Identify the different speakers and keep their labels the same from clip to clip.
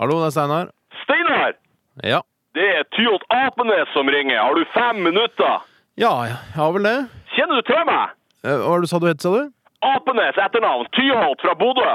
Speaker 1: Hallo, det er Steinar.
Speaker 2: Steinar!
Speaker 1: Ja.
Speaker 2: Det er Tyholt Apenes som ringer. Har du fem minutter?
Speaker 1: ja, jeg har vel det.
Speaker 2: Kjenner du til meg?
Speaker 1: Eh, Hva var det du sa du het, sa du?
Speaker 2: Apenes etternavn, Tyholt fra Bodø.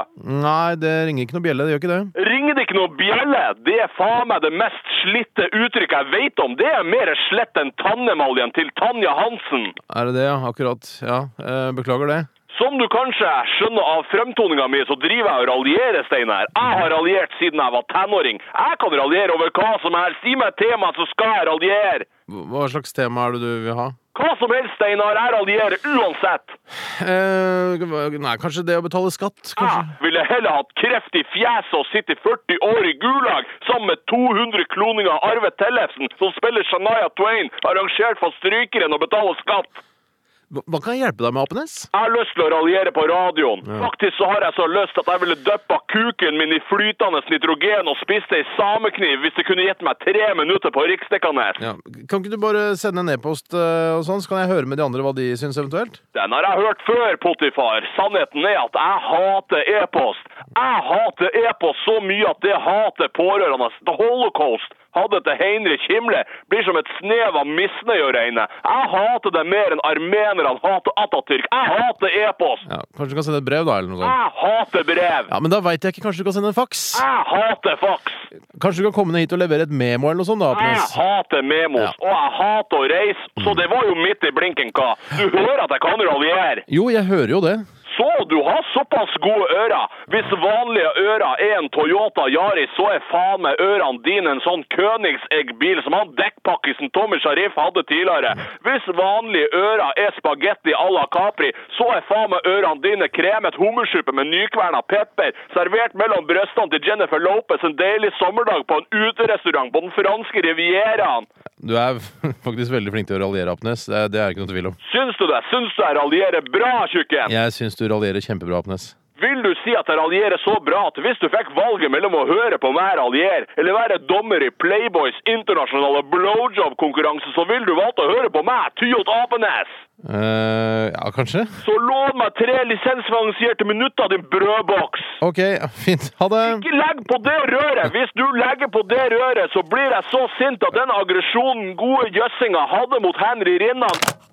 Speaker 1: Nei, det ringer ikke noe bjelle. Det gjør ikke det.
Speaker 2: Ringer det ikke noe bjelle? Det er faen meg det mest slitte uttrykket jeg vet om. Det er mer slett enn tannemaljen til Tanja Hansen.
Speaker 1: Er det det, ja? Akkurat. Ja, eh, beklager det.
Speaker 2: Som du kanskje skjønner av fremtoninga mi, så driver jeg og raljerer, Steinar. Jeg har raljert siden jeg var tenåring. Jeg kan raljere over hva som helst. Gi meg et tema, så skal jeg raljere.
Speaker 1: Hva hva slags tema er det du vil ha?
Speaker 2: Hva som helst, Steinar. Jeg raljerer uansett.
Speaker 1: Eh, hva- nei, kanskje det å betale skatt? Kanskje.
Speaker 2: Ah, Jeg ville heller hatt kreft i fjeset og sitte i 40 år i gulag sammen med 200 kloninger av Arve Tellefsen, som spiller Shania Twain, arrangert for strykeren og betaler skatt.
Speaker 1: Hva, hva kan jeg hjelpe deg med, Apenes?
Speaker 2: Jeg har lyst til å raljere på radioen. Faktisk så har jeg så lyst at jeg ville døppa kuken min i flytende nitrogen og spist ei samekniv hvis det kunne gitt meg tre minutter på Riksdekkanes.
Speaker 1: Ja. Kan ikke du bare sende en e-post, eh, og sånn, så kan jeg høre med de andre hva de syns eventuelt?
Speaker 2: Den har jeg hørt før, Potifar. Sannheten er at jeg hater e-post. Jeg hater e-post så mye at det hater pårørende. The Holocaust hadde til Heinrich Himle blir som et snev av misnøye å regne. Jeg hater det mer enn armenerne hater Atatürk. Jeg hater e-post.
Speaker 1: Ja, Kanskje du kan sende et brev, da? eller noe sånt.
Speaker 2: Jeg hater brev.
Speaker 1: Ja, men da veit jeg ikke. Kanskje du kan sende en faks?
Speaker 2: Jeg hater fax.
Speaker 1: Kanskje du kan komme ned hit og levere et memo eller noe sånt? da,
Speaker 2: Jeg
Speaker 1: Apenes?
Speaker 2: hater memos, og jeg hater å reise, så det var jo midt i blinken, hva? Du hører at jeg kan raljere.
Speaker 1: Jo, jeg hører jo det.
Speaker 2: Så du har såpass gode ører. Hvis vanlige ører er en Toyota Yaris, så er faen meg ørene dine en sånn Königsegg-bil som han dekkpakkisen Tommy Sharif hadde tidligere. Hvis vanlige ører er spagetti à la Capri, så er faen meg ørene dine kremet hummersuppe med nykverna pepper, servert mellom brystene til Jennifer Lopez en deilig sommerdag på en uterestaurant på den franske rivieraen.
Speaker 1: Du er faktisk veldig flink til å raljere, Apnes. Det er det er ikke noe tvil om.
Speaker 2: Syns du det? Syns du jeg raljerer bra, tjukken?
Speaker 1: Jeg syns du raljerer kjempebra, Apnes.
Speaker 2: Vil du si at jeg raljerer så bra at hvis du fikk valget mellom å høre på meg raljere eller være dommer i Playboys internasjonale blowjob-konkurranse, så vil du valgte å høre på meg, Tyholt Apenes?
Speaker 1: eh ja, kanskje?
Speaker 2: Så lov meg tre lisensfinansierte minutter, din brødboks!
Speaker 1: Ok, fint. Ha det!
Speaker 2: Ikke legg på det røret! Hvis du legger på det røret, så blir jeg så sint at den aggresjonen gode jøssinga hadde mot Henry Rinnan